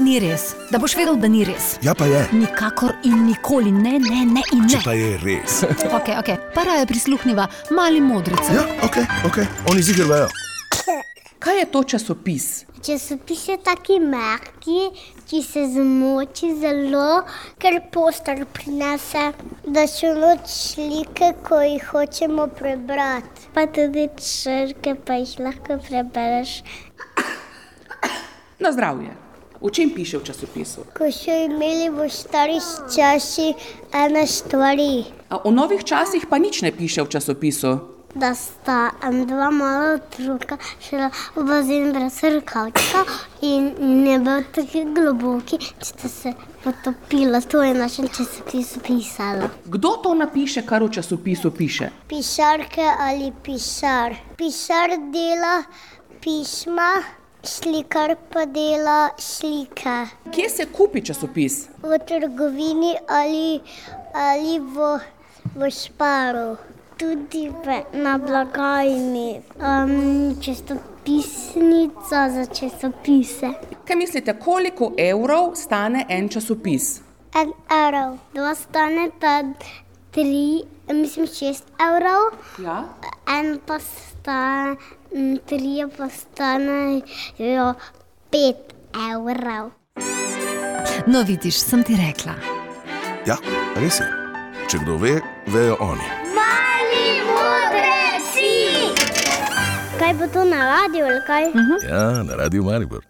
ni res, da boš vedel, da ni res. Ja, pa je. Nikakor in nikoli ne, ne, ne in Če ne. pa je res. Okay, okay. Para je prisluhnila mali modrici. Ja, ok, ok, oni zigrajo. Kaj je to časopis? Če so piše taki mehki, ki se zmoči zelo, ker poster prinese, da so noč slike, ko jih hočemo prebrati. Pa tudi črke, pa jih lahko prebereš. Na zdravje. O čem piše v časopisu? Ko so imeli v starih časih ene stvari, A o novih časih pa nič ne piše v časopisu. da sta em, dva mala otroka šla v bazen brez rokavčka in ne bil tako globoki, da sta se potopila. To je našem časopisu pisalo. Kdo to napiše, kar v časopisu piše? Pišarke ali pišar. Pišar dela pisma, slikar pa dela slike. Kje se kupi časopis? V trgovini ali, ali v, v šparu. Tudi v, na blagajni, um, časopisnica za časopise. Kaj mislite, koliko evrov stane en časopis? En evrov, dva stane ta tri, mislim, šest evrov. Ja. En pa stane, tri pa stanejo pet evrov. No, vidiš, sem ti rekla. Ja, res je. Če kdo ve, vejo oni. Mali modri si! Kaj bo to na radiju ali kaj? Ja, na radiju Maribor.